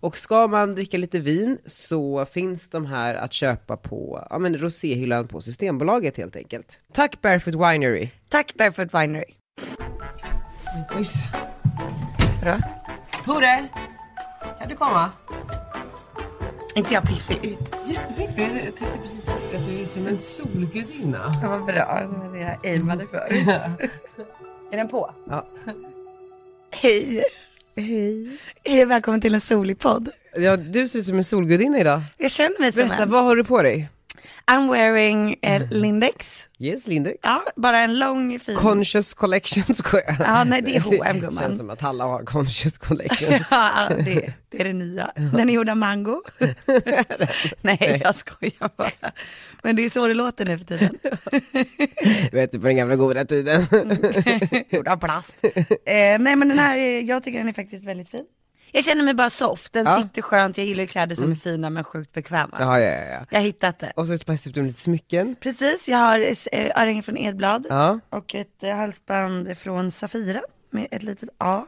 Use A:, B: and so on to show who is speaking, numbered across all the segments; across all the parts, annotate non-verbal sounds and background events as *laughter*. A: Och ska man dricka lite vin så finns de här att köpa på ja, men roséhyllan på Systembolaget helt enkelt. Tack Barefoot Winery!
B: Tack Barefoot Winery. Bra.
A: Tore! Kan du komma?
B: Inte jag piffig.
A: Jättefiffig. Jag tänkte precis att du är som en solgudinna.
B: Ja, vad bra. Det var det jag aimade
A: *laughs*
B: för. är den på?
A: Ja.
B: Hej. Hej. Hej och välkommen till en solig podd.
A: ja, du ser ut som en solgudinna idag.
B: Jag känner mig som
A: Berätta,
B: en.
A: vad har du på dig?
B: I'm wearing eh,
A: Mm.
B: Lindex.
A: Yes, Lindex.
B: Ja, bara en lång fin.
A: Conscious collection skojar jag.
B: Ja, nej, det är
A: *laughs*
B: H&M,
A: Det
B: gumman.
A: känns som att alla har conscious collection.
B: *laughs* Ja, det, det är det nya. Den är gjord
A: *laughs*
B: av mango. *laughs* Nej, jag skojar bara. Men det är så det låter nu för tiden.
A: Du vet, på den gamla goda tiden.
B: Mm. Gjord av plast. Eh, nej, men den här, är- jag tycker den är faktiskt väldigt fin. Jag känner mig bara soft, den
A: Ja.
B: sitter skönt, jag gillar ju kläder som är fina men sjukt bekväma.
A: ja, ja, ja, ja.
B: Jag har hittat det.
A: Och så har du spiced upp dem lite smycken.
B: Precis, jag har eh, örhängen från Edblad
A: Ja.
B: och ett eh, halsband från Safira med ett litet A.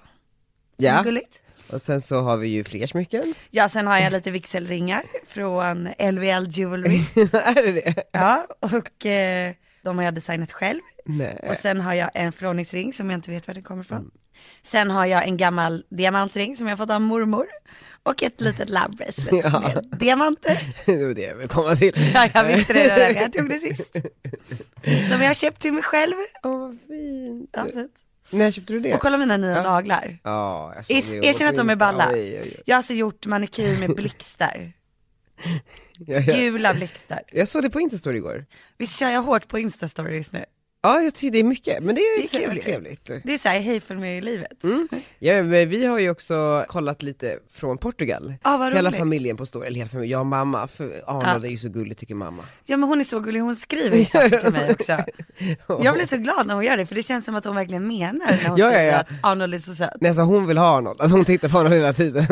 A: Ja.
B: Gulligt.
A: Och sen så har vi ju fler
B: *laughs*
A: smycken.
B: Ja, sen har jag lite vigselringar från LVL *laughs* Jewelry.
A: är det det?
B: Ja, och eh, de har jag designat själv.
A: Nej.
B: Eh, Och sen har jag en förlovningsring som jag inte vet var den kommer
A: Mm.
B: ifrån. Sen har jag en gammal diamantring som jag fått av mormor. Och ett litet love bracelet
A: *laughs* Ja.
B: med diamanter.
A: det var det jag ville komma till.
B: Ja, jag visste det
A: *laughs*
B: redan, jag tog det sist. Som jag har köpt till mig själv.
A: Åh, vad fint.
B: Ja, fint.
A: När köpte du det?
B: Och kolla mina nya naglar.
A: Ja, jag såg
B: Is-
A: det
B: Erkänn att de är balla.
A: Oj, oj, oj.
B: Jag har alltså gjort manikyr med blixtar.
A: *laughs* Ja, ja.
B: Gula blixtar.
A: Jag såg det på Instastory igår.
B: Visst kör jag hårt på instastories nu?
A: Ja, jag tycker det är mycket, men det är,
B: Det är kul
A: ju
B: ju.
A: trevligt.
B: Det är så här, hej följ med i livet.
A: Mm. Ja, men vi har ju också kollat lite från Portugal.
B: Ah, vad
A: hela
B: roligt.
A: familjen på story, eller hela familjen, jag och mamma, för Arnold är ju så gullig tycker mamma.
B: Ja men hon är så gullig, hon skriver ju saker till mig
A: *laughs*
B: också. Jag blir så glad när hon gör det, för det känns som att hon verkligen menar när hon
A: Ja, ja,
B: skriver
A: ja.
B: att Arnold är så söt.
A: Nej, så hon vill ha Arnold, alltså hon tittar på Arnold hela *laughs* tiden.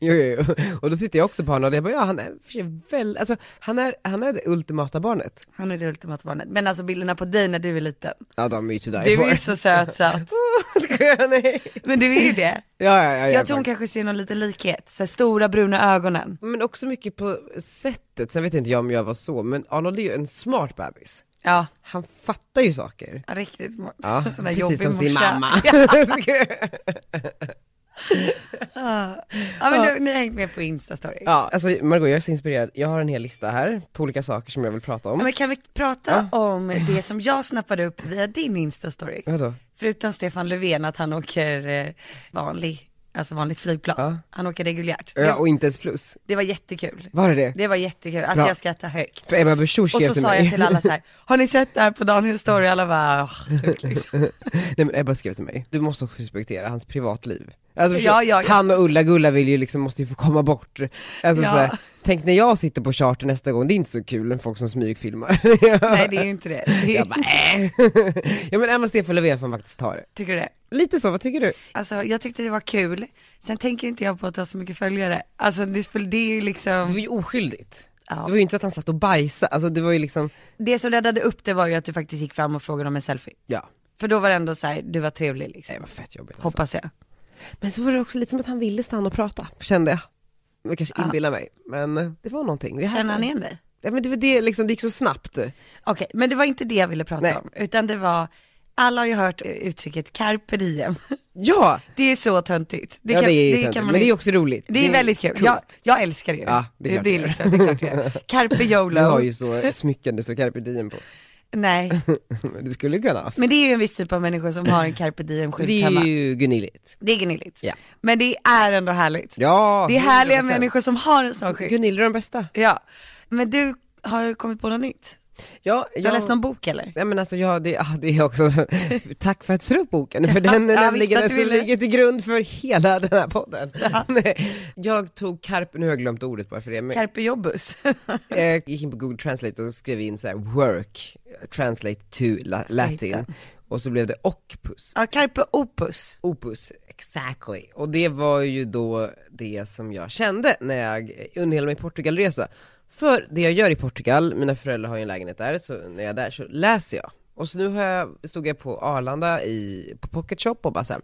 A: jo, jo, jo. Och då tittar jag också på Arnold, jag bara ja han är för sig väl, alltså han är, han är det ultimata barnet.
B: Han är det ultimata barnet. Men alltså bilderna på dig när du är liten.
A: Ja de är ju *laughs* to die
B: Du
A: for.
B: är ju så söt söt.
A: Skojar jag? Nej.
B: Men du är ju det.
A: *laughs* Ja, ja, ja, ja,
B: Jag tror hon kanske ser någon liten likhet, så här, stora bruna ögonen.
A: Men också mycket på sättet, sen vet inte jag om jag var så, men Arnold är ju en smart bebis.
B: Ja,
A: Han fattar ju saker.
B: riktigt smart.
A: Ja,
B: *laughs* Sån där jobbig
A: precis som sin *laughs*
B: morsa. *laughs*
A: mamma.
B: Ja men du, ni har hängt med på Insta-story. Ja.
A: ja, alltså Margot jag är så inspirerad, jag har en hel lista här på olika saker som jag vill prata om.
B: Men kan vi prata om det som jag snappade upp via din Insta-story?
A: Vadå?
B: Förutom Stefan Löfven att han åker eh, vanlig, alltså vanligt flygplan.
A: Ja.
B: Han åker reguljärt.
A: Ja, och inte ens plus.
B: Det var jättekul.
A: Var det det?
B: Det var jättekul, alltså
A: Bra.
B: jag skrattade högt.
A: För Ebba Busch
B: Och
A: skrev
B: så
A: till
B: sa
A: mig.
B: jag till alla så här, *laughs* har ni sett det här på Daniels story? Alla bara, "Åh, suck *laughs* liksom.
A: *laughs* Nej men Ebba skrev till mig, du måste också respektera hans privatliv. Alltså,
B: Ja, ja, ja.
A: Han och Ulla-Gulla vill ju liksom, måste ju få komma bort. Alltså,
B: Ja.
A: så här, tänk när jag sitter på charter nästa gång, det är inte så kul än folk som smygfilmar. *laughs*
B: Nej det är ju inte det. det
A: Jag bara, äh. *laughs* Ja men Emma Stefan Löfven får faktiskt ta det.
B: *laughs* Tycker du det?
A: Lite så, vad tycker du?
B: Alltså jag tyckte det var kul, sen tänker inte jag på att du har så mycket följare. Alltså det, spel, det är ju
A: Det
B: liksom,
A: var ju oskyldigt.
B: Ja.
A: Det var ju inte så att han satt och bajsade, alltså det var ju liksom,
B: det som räddade upp det var ju att du faktiskt gick fram och frågade om en selfie.
A: ja.
B: För då var det ändå så här, du var trevlig liksom.
A: Det var fett jobbigt alltså.
B: Hoppas jag.
A: Men så var det också lite som att han ville stanna och prata, kände jag. Jag kanske inbillar mig, men eh, det var någonting. Vi hade-
B: Känner han igen dig?
A: Ja, men det var det liksom, det gick så snabbt.
B: Okej, men det var inte det jag ville prata
A: Nej.
B: om, utan det var, alla har ju hört eh, uttrycket carpe diem. *laughs*
A: Ja!
B: Det är så töntigt.
A: Det, ja, det är
B: kan
A: det
B: man
A: men det
B: inte-
A: är också roligt.
B: Det är väldigt kul.
A: coolt.
B: Jag, jag älskar det ju.
A: Ja, det är klart
B: det,
A: jag
B: är
A: gör. *laughs*
B: liksom, det är klart jag gör. Carpe
A: Du har
B: YOLO.
A: ju så smycken det står carpe diem på. *laughs*
B: Nej,
A: Du skulle kunna.
B: men det är ju en viss typ av människor som har en carpe diem skylt
A: Det är
B: hemma.
A: ju gunilligt.
B: Det är gnilligt.
A: Ja.
B: Men det är ändå härligt.
A: Ja,
B: det är härliga
A: 100%.
B: människor som har en sån skylt.
A: Gunilla är den bästa.
B: Ja. Men du har kommit på något nytt?
A: Ja,
B: Du har läst någon bok eller?
A: Nej men alltså ja, det, ja, det är
B: *laughs*
A: också, tack för att du slog upp boken, för den är
B: ja, visst
A: nämligen
B: att
A: den
B: du
A: som
B: ville.
A: ligger till grund för hela den här podden. *laughs* Nej, jag tog carpe, nu har jag glömt ordet bara för det, men
B: Carpe jobbus.
A: *laughs* jag Eh, gick in på google translate och skrev in så här work, translate to la, latin, och så blev det occupus,
B: *laughs* ja, carpe opus.
A: opus, exactly. Och det var ju då det som jag kände när jag under hela min Portugalresa. För det jag gör i Portugal, mina föräldrar har ju en lägenhet där, så när jag är där så läser jag. Och så nu har jag, stod jag på Arlanda i, på Pocket Shop och bara såhär,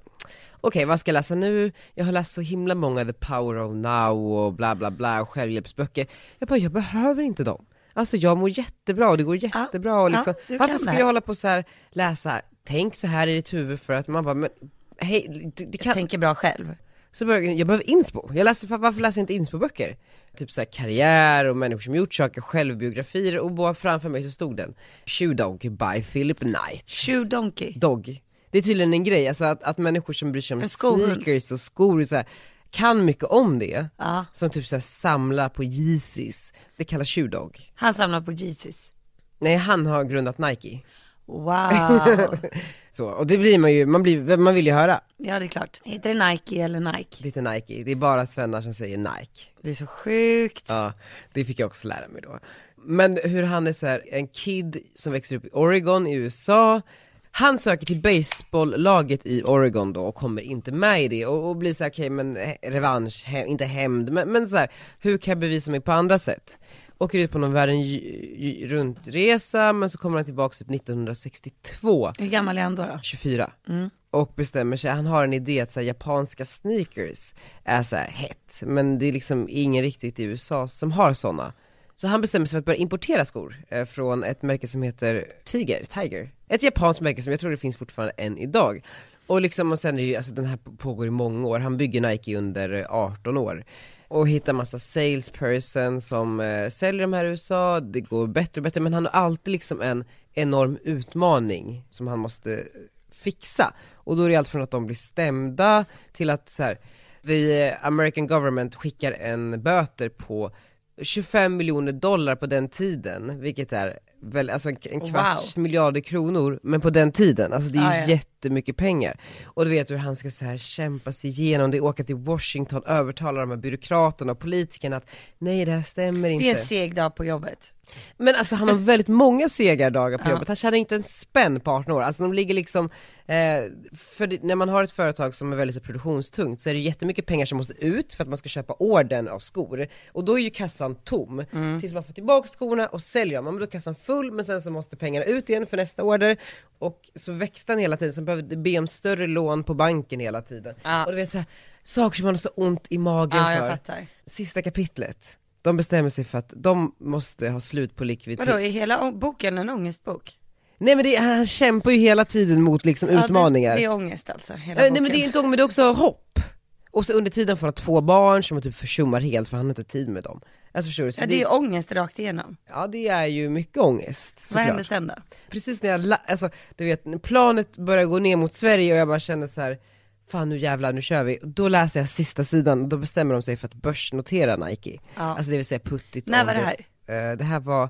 A: okej vad ska jag läsa nu? Jag har läst så himla många The Power of Now och bla bla bla, och självhjälpsböcker. Jag bara, jag behöver inte dem. Alltså jag mår jättebra och det går jättebra och
B: ja,
A: liksom,
B: du kan
A: varför ska
B: det.
A: jag hålla på så här läsa, tänk så här i ditt huvud för att man bara, men hej, det, det
B: Jag
A: kan,
B: tänker bra själv.
A: så började, jag- jag behöver inspo, jag läser, fa- varför läser jag inte inspo-böcker? Typ så här karriär och människor som gjort saker, självbiografier och bara framför mig så stod den, Shoe Dog by Philip Knight.
B: Shoe donkey.
A: Dog. Det är tydligen en grej, alltså att, att människor som bryr sig om
B: En skohund.
A: sneakers och skor och så här, kan mycket om det,
B: Ja.
A: som typ så här samlar på Yeezys, det kallas Shoe Dog.
B: Han samlar
A: *laughs*
B: på Jesus.
A: Nej, han har grundat Nike. *laughs*
B: Wow.
A: Så, och det blir man ju, man, blir, man vill ju höra
B: ja, det är klart. Heter det Nike eller Nike?
A: lite Nike, det är bara svennar som säger Nike.
B: Det är så sjukt.
A: Ja, det fick jag också lära mig då. Men hur han är så här, en kid som växer upp i Oregon i USA, han söker till baseballlaget i Oregon då och kommer inte med i det och, och blir så här, okej men he- revansch, he, inte hämnd, men, men så här, hur kan jag bevisa mig på andra sätt? Åker ut på någon världen ju- ju- runt-resa, men så kommer han tillbaka typ 1962
B: Hur gammal är han då? då?
A: 24 och bestämmer sig, han har en idé att så här, japanska sneakers är så här hett, men det är liksom ingen riktigt i USA som har sådana. Så han bestämmer sig för att börja importera skor eh, från ett märke som heter Tiger, Tiger. Ett japanskt märke som jag tror det finns fortfarande än idag. Och liksom, och sen är det ju, alltså den här pågår i många år, han bygger Nike under eh, 18 år. Och hittar massa salesperson som eh, säljer de här i USA, det går bättre och bättre, men han har alltid liksom en enorm utmaning som han måste eh, fixa. Och då är det allt från att de blir stämda till att så här, the eh, American government skickar en böter på 25 miljoner dollar på den tiden, vilket är väl, alltså en, en kvarts miljarder kronor, men på den tiden, alltså det är ju
B: Ah, ja.
A: jättemycket pengar. Och du vet hur han ska så här kämpa sig igenom det, åka till Washington, övertala de här byråkraterna och politikerna att nej det här stämmer inte.
B: Det är en seg dag på jobbet.
A: Men alltså han har väldigt många segardagar på jobbet, han tjänar inte en spänn på 18 år. Alltså de ligger liksom, eh, för det, när man har ett företag som är väldigt så produktionstungt så är det jättemycket pengar som måste ut för att man ska köpa orden av skor. Och då är ju kassan tom,
B: Mm.
A: tills man får tillbaka skorna och säljer dem. Ja, Men då är kassan full, men sen så måste pengarna ut igen för nästa order. Och så växte han hela tiden, så han behövde be om större lån på banken hela tiden.
B: Ja.
A: Och du vet så här, saker som man har så ont i magen
B: Ja, jag
A: för.
B: fattar.
A: Sista kapitlet. De bestämmer sig för att de måste ha slut på likviditet.
B: Vadå, är hela å- boken en ångestbok?
A: Nej men det, han kämpar ju hela tiden mot liksom utmaningar.
B: Ja, det, det är ångest alltså, hela
A: Nej,
B: boken.
A: Nej men det är inte ångest, men det är också hopp. Och så under tiden får han två barn som han typ försummar helt för han har inte tid med dem. Alltså förstår du? Så
B: ja, det
A: det,
B: är ångest rakt igenom.
A: ja det är ju mycket ångest
B: Vad
A: såklart.
B: hände sen då?
A: Precis när jag, la- alltså du vet, när planet börjar gå ner mot Sverige och jag bara känner så här. Fan nu jävlar, nu kör vi. Och Då läser jag sista sidan och då bestämmer de sig för att börsnotera Nike. Alltså det vill säga puttigt.
B: När
A: om
B: var det här?
A: Eh, Det här var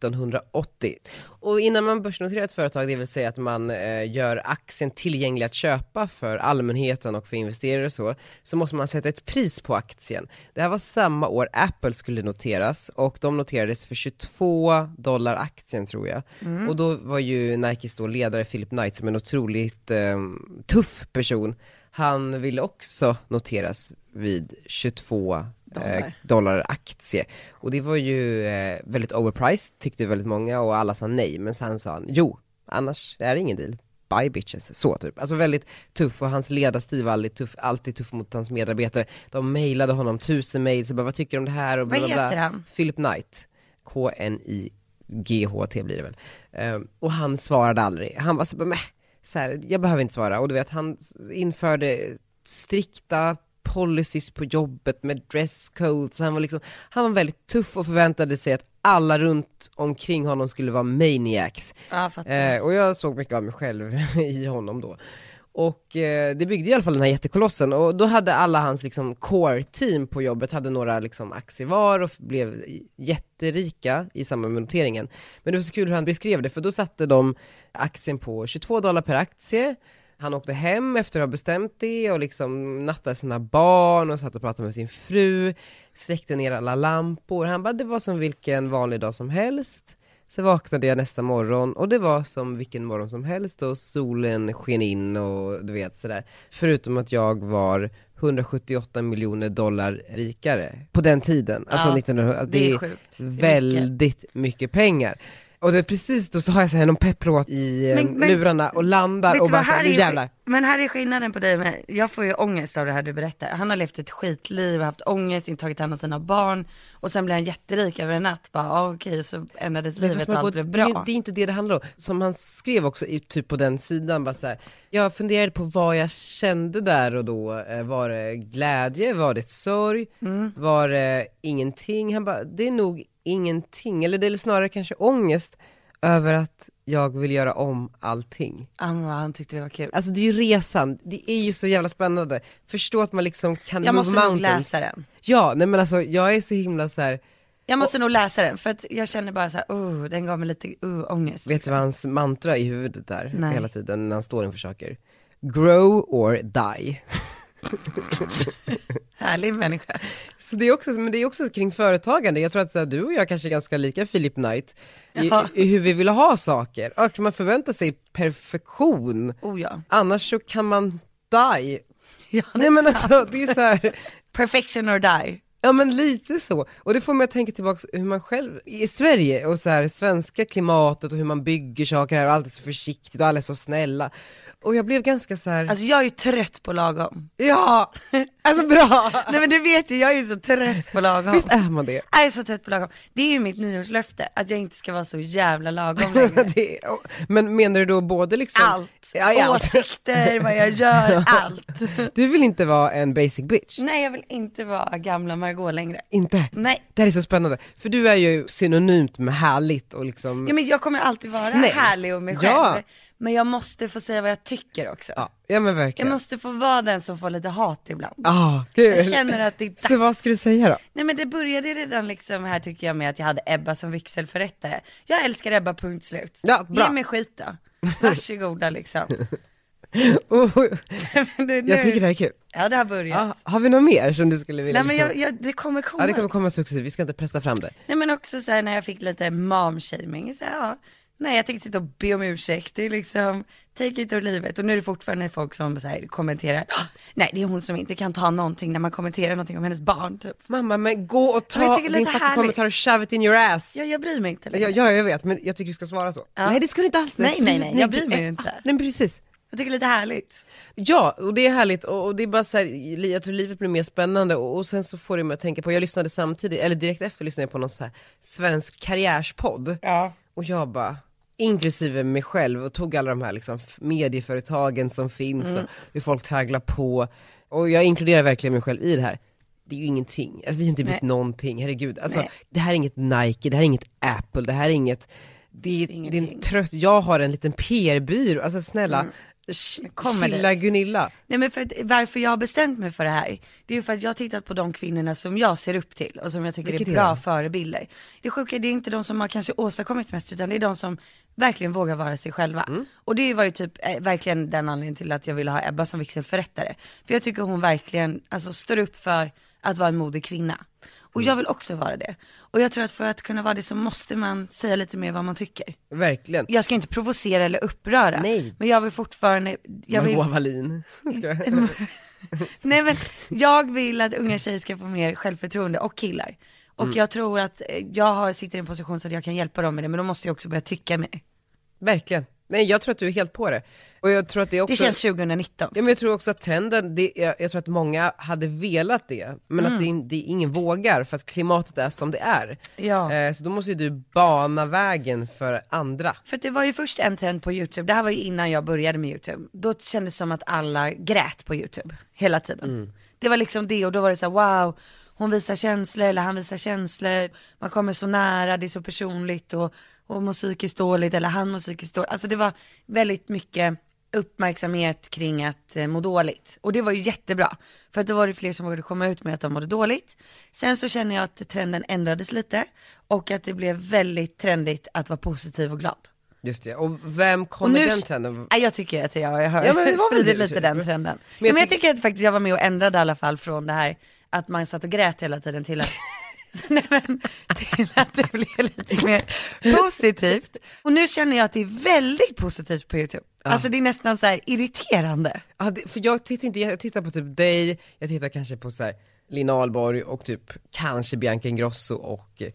A: 1980. Och innan man börsnoterar ett företag, det vill säga att man eh, gör aktien tillgänglig att köpa för allmänheten och för investerare och så, så måste man sätta ett pris på aktien. Det här var samma år Apple skulle noteras och de noterades för 22 dollar aktien tror jag. Och då var ju Nikes då ledare Philip Knight som en otroligt eh, tuff person. Han ville också noteras vid eh, 22 dollar.
B: Dollar.
A: dollar aktie. Och det var ju eh, väldigt overpriced tyckte väldigt många och alla sa nej. Men sen sa han jo, annars det är det ingen deal. Buy bitches, så typ. Alltså väldigt tuff och hans ledarstil var alltid tuff, alltid tuff mot hans medarbetare. De mejlade honom tusen mejl, så bara vad tycker du om det här och
B: Vad
A: bla, bla, bla.
B: heter han?
A: Philip Knight. K-N-I-G-H-T blir det väl. Ehm, och han svarade aldrig. Han var så, bara, "Mäh." så här, jag behöver inte svara. Och du vet, han s- införde strikta policies på jobbet med dresscode. Så han var liksom, han var väldigt tuff och förväntade sig att alla runt omkring honom skulle vara maniacs.
B: Ja, fattar.
A: Eh, och jag såg mycket av mig själv *laughs* i honom då. Och eh, det byggde i alla fall den här jättekolossen och då hade alla hans liksom core team på jobbet, hade några liksom aktier var och blev jätterika i samband med noteringen. Men det var så kul hur han beskrev det, för då satte de aktien på 22 dollar per aktie, han åkte hem efter att ha bestämt det och liksom nattade sina barn och satt och pratade med sin fru, släckte ner alla lampor. Han bara, det var som vilken vanlig dag som helst. Så vaknade jag nästa morgon och det var som vilken morgon som helst och solen sken in och du vet sådär. Förutom att jag var 178 miljoner dollar rikare på den tiden. Alltså
B: Ja,
A: 1900,
B: det är sjukt. Det är mycket.
A: väldigt mycket pengar. Och det är precis då så har jag så här någon pepplåt i eh,
B: Men- men-
A: lurarna och landar
B: Vet
A: och
B: du
A: bara
B: vad,
A: såhär, nu
B: är-
A: jävlar.
B: Men här är skillnaden på dig och mig. Jag får ju ångest av det här du berättar. Han har levt ett skitliv, haft ångest, inte tagit hand om sina barn och sen blev han jätterik över en natt. Bara, ah, okej, så ändrades
A: Men
B: livet
A: fast
B: och
A: man
B: allt
A: går-
B: blev
A: det, är ju-
B: bra.
A: det är inte det det handlar om. Som han skrev också i, typ på den sidan, bara så här, jag funderade på vad jag kände där och då. Eh, Var det glädje? Var det sorg?
B: Mm.
A: Var det ingenting? Han bara, det är nog ingenting. Eller det är snarare kanske ångest över att jag vill göra om allting.
B: Han, bara, Ah, han tyckte det var kul.
A: Alltså det är ju resan, det är ju så jävla spännande. Förstå att man liksom kan
B: Jag
A: move
B: måste nog
A: mountains.
B: läsa den.
A: Ja, nej men alltså jag är så himla så här.
B: Jag måste nog läsa den för att jag känner bara så här, oh, den gav mig lite oh, ångest.
A: Vet du vad hans mantra i huvudet är
B: Nej.
A: hela tiden när han står inför saker? Grow or die.
B: Härlig människa.
A: Så det är också, men det är också kring företagande, jag tror att så här, du och jag kanske är ganska lika Philip Knight i,
B: Ja.
A: i hur vi vill ha saker. Och man förväntar sig perfektion,
B: Oh ja.
A: annars så kan man die.
B: ja
A: Nej men alltså det är så här,
B: Perfection or die.
A: Ja men lite så, och det får mig att tänka tillbaka hur man själv, i Sverige och så här svenska klimatet och hur man bygger saker här och allt är så försiktigt och alla är så snälla. Och jag blev ganska så här.
B: Alltså jag är ju trött på lagom.
A: ja, alltså bra!
B: Nej men du vet ju, jag är ju så trött på lagom.
A: Visst är man
B: *laughs*
A: det?
B: Jag är så trött på lagom. Det är ju mitt nyårslöfte, att jag inte ska vara så jävla lagom *laughs* längre.
A: det är, men menar du då både liksom
B: Allt.
A: Ja, i allt.
B: Åsikter, vad jag *laughs* gör, allt.
A: Du vill inte vara en basic bitch?
B: Nej jag vill inte vara gamla Margot längre.
A: Inte?
B: Mm. Nej.
A: Det här är så spännande, för du är ju synonymt med härligt och liksom
B: Ja, men jag kommer alltid vara
A: Snällt.
B: härlig och mig själv.
A: Ja.
B: Men jag måste få säga vad jag tycker också.
A: ja, ja men
B: Jag
A: verkligen.
B: måste få vara den som får lite hat ibland.
A: Ah, kul.
B: Jag känner att det är dags.
A: Så vad ska du säga då?
B: Nej men det började redan liksom här tycker jag med att jag hade Ebba som vigselförrättare. Jag älskar Ebba, punkt slut.
A: Ja, bra.
B: Ge mig skit
A: *laughs*
B: då. Varsågoda liksom.
A: Oh,
B: *laughs* Men det, nu,
A: jag tycker det här är kul.
B: Ja det har börjat.
A: Ja, har vi något mer som du skulle vilja?
B: Nej men
A: liksom-
B: jag, jag, det kommer komma.
A: ja, det kommer komma successivt, vi ska inte pressa fram det.
B: Nej men också så här när jag fick lite momshaming, så här, ja. Nej jag tänkte sitta och be om ursäkt, det är liksom take it or leave it. Och nu är det fortfarande folk som så här, kommenterar, "Ah, nej det är hon som inte kan ta någonting när man kommenterar någonting om hennes barn typ.
A: Mamma, men gå och
B: Men
A: ta
B: jag tycker
A: din
B: det är lite
A: fucking
B: härligt.
A: kommentar och shove it in your ass.
B: Ja jag bryr mig inte
A: Ja,
B: längre.
A: ja, jag vet, men jag tycker du ska svara så.
B: Ja.
A: Nej, det ska du inte alls.
B: Nej, nej, nej, jag
A: du-
B: bryr mig
A: eh,
B: inte.
A: ah, Nej, men precis.
B: Jag tycker det är lite härligt.
A: Ja, och det är härligt och, och det är bara så här, li- jag tror livet blir mer spännande och, och sen så får det mig att tänka på, jag lyssnade samtidigt, eller direkt efter lyssnade jag på någon så här svensk karriärspodd.
B: Ja.
A: Och jag bara, inklusive mig själv, och tog alla de här liksom f- medieföretagen som finns
B: Mm.
A: och hur folk tragglar på. Och jag inkluderar verkligen mig själv i det här. Det är ju ingenting, Alltså, vi har inte byggt
B: Nej.
A: någonting, herregud. Alltså,
B: Nej.
A: det här är inget Nike, det här är inget Apple, det här är inget, det är, det är en
B: Ingenting. Mm.
A: trött, jag har en liten PR-byrå, alltså snälla, ch-
B: kommer
A: chilla Gunilla.
B: Nej men för att, varför jag har bestämt mig för det här, det är ju för att jag har tittat på de kvinnorna som jag ser upp till och som jag tycker
A: Vilket
B: är
A: är
B: bra
A: det?
B: förebilder. Det sjuka, det är inte de som har kanske åstadkommit mest utan det är de som verkligen vågar vara sig själva.
A: Mm.
B: Och det var ju typ eh, verkligen den anledningen till att jag ville ha Ebba som vigselförrättare. För jag tycker hon verkligen, alltså står upp för att vara en modig kvinna. Och
A: Mm.
B: jag vill också vara det. Och jag tror att för att kunna vara det så måste man säga lite mer vad man tycker.
A: Verkligen.
B: Jag ska inte provocera eller uppröra.
A: Nej.
B: Men jag vill fortfarande, jag vill... Mm.
A: Margoa Wallin. *laughs* Ska jag-
B: Nej men jag vill att unga tjejer ska få mer självförtroende och killar. Och jag tror att eh, jag har, sitter i en position så att jag kan hjälpa dem med det, men då måste jag också börja tycka mer.
A: Verkligen. Nej jag tror att du är helt på det. Och jag tror att det också...
B: Det känns 2019.
A: Ja men jag tror också att trenden, det, jag, jag tror att många hade velat det, men
B: Mm.
A: att det, in- det ingen vågar för att klimatet är som det är.
B: Ja.
A: Eh, så då måste ju du bana vägen för andra.
B: För att det var ju först en trend på YouTube, det här var ju innan jag började med YouTube. Då kändes det som att alla grät på YouTube hela tiden. Det var liksom det och då var det så här, wow, hon visar känslor eller han visar känslor, man kommer så nära, det är så personligt och hon mår psykiskt dåligt eller han mår psykiskt dåligt. Alltså det var väldigt mycket uppmärksamhet kring att eh, må dåligt. Och det var ju jättebra. För att då var det fler som vågade komma ut med att de mådde dåligt. Sen så känner jag att trenden ändrades lite och att det blev väldigt trendigt att vara positiv och glad.
A: Just det, och vem kom med den trenden?
B: Nej, jag tycker att jag har
A: Ja, men det var väl
B: *laughs* spridit
A: du,
B: lite
A: typ.
B: den trenden. Men
A: jag
B: jag, men jag
A: tyck-
B: tycker att faktiskt jag var med och ändrade i alla fall från det här att man satt och grät hela tiden till att *laughs* Nej, men, till att det blev lite mer positivt. Och nu känner jag att det är väldigt positivt på YouTube. Alltså det är nästan så här irriterande.
A: Ja, det, för jag tittar inte, jag tittar på typ dig, jag tittar kanske på så här Lina Ahlborg och typ kanske Bianca Ingrosso och eh,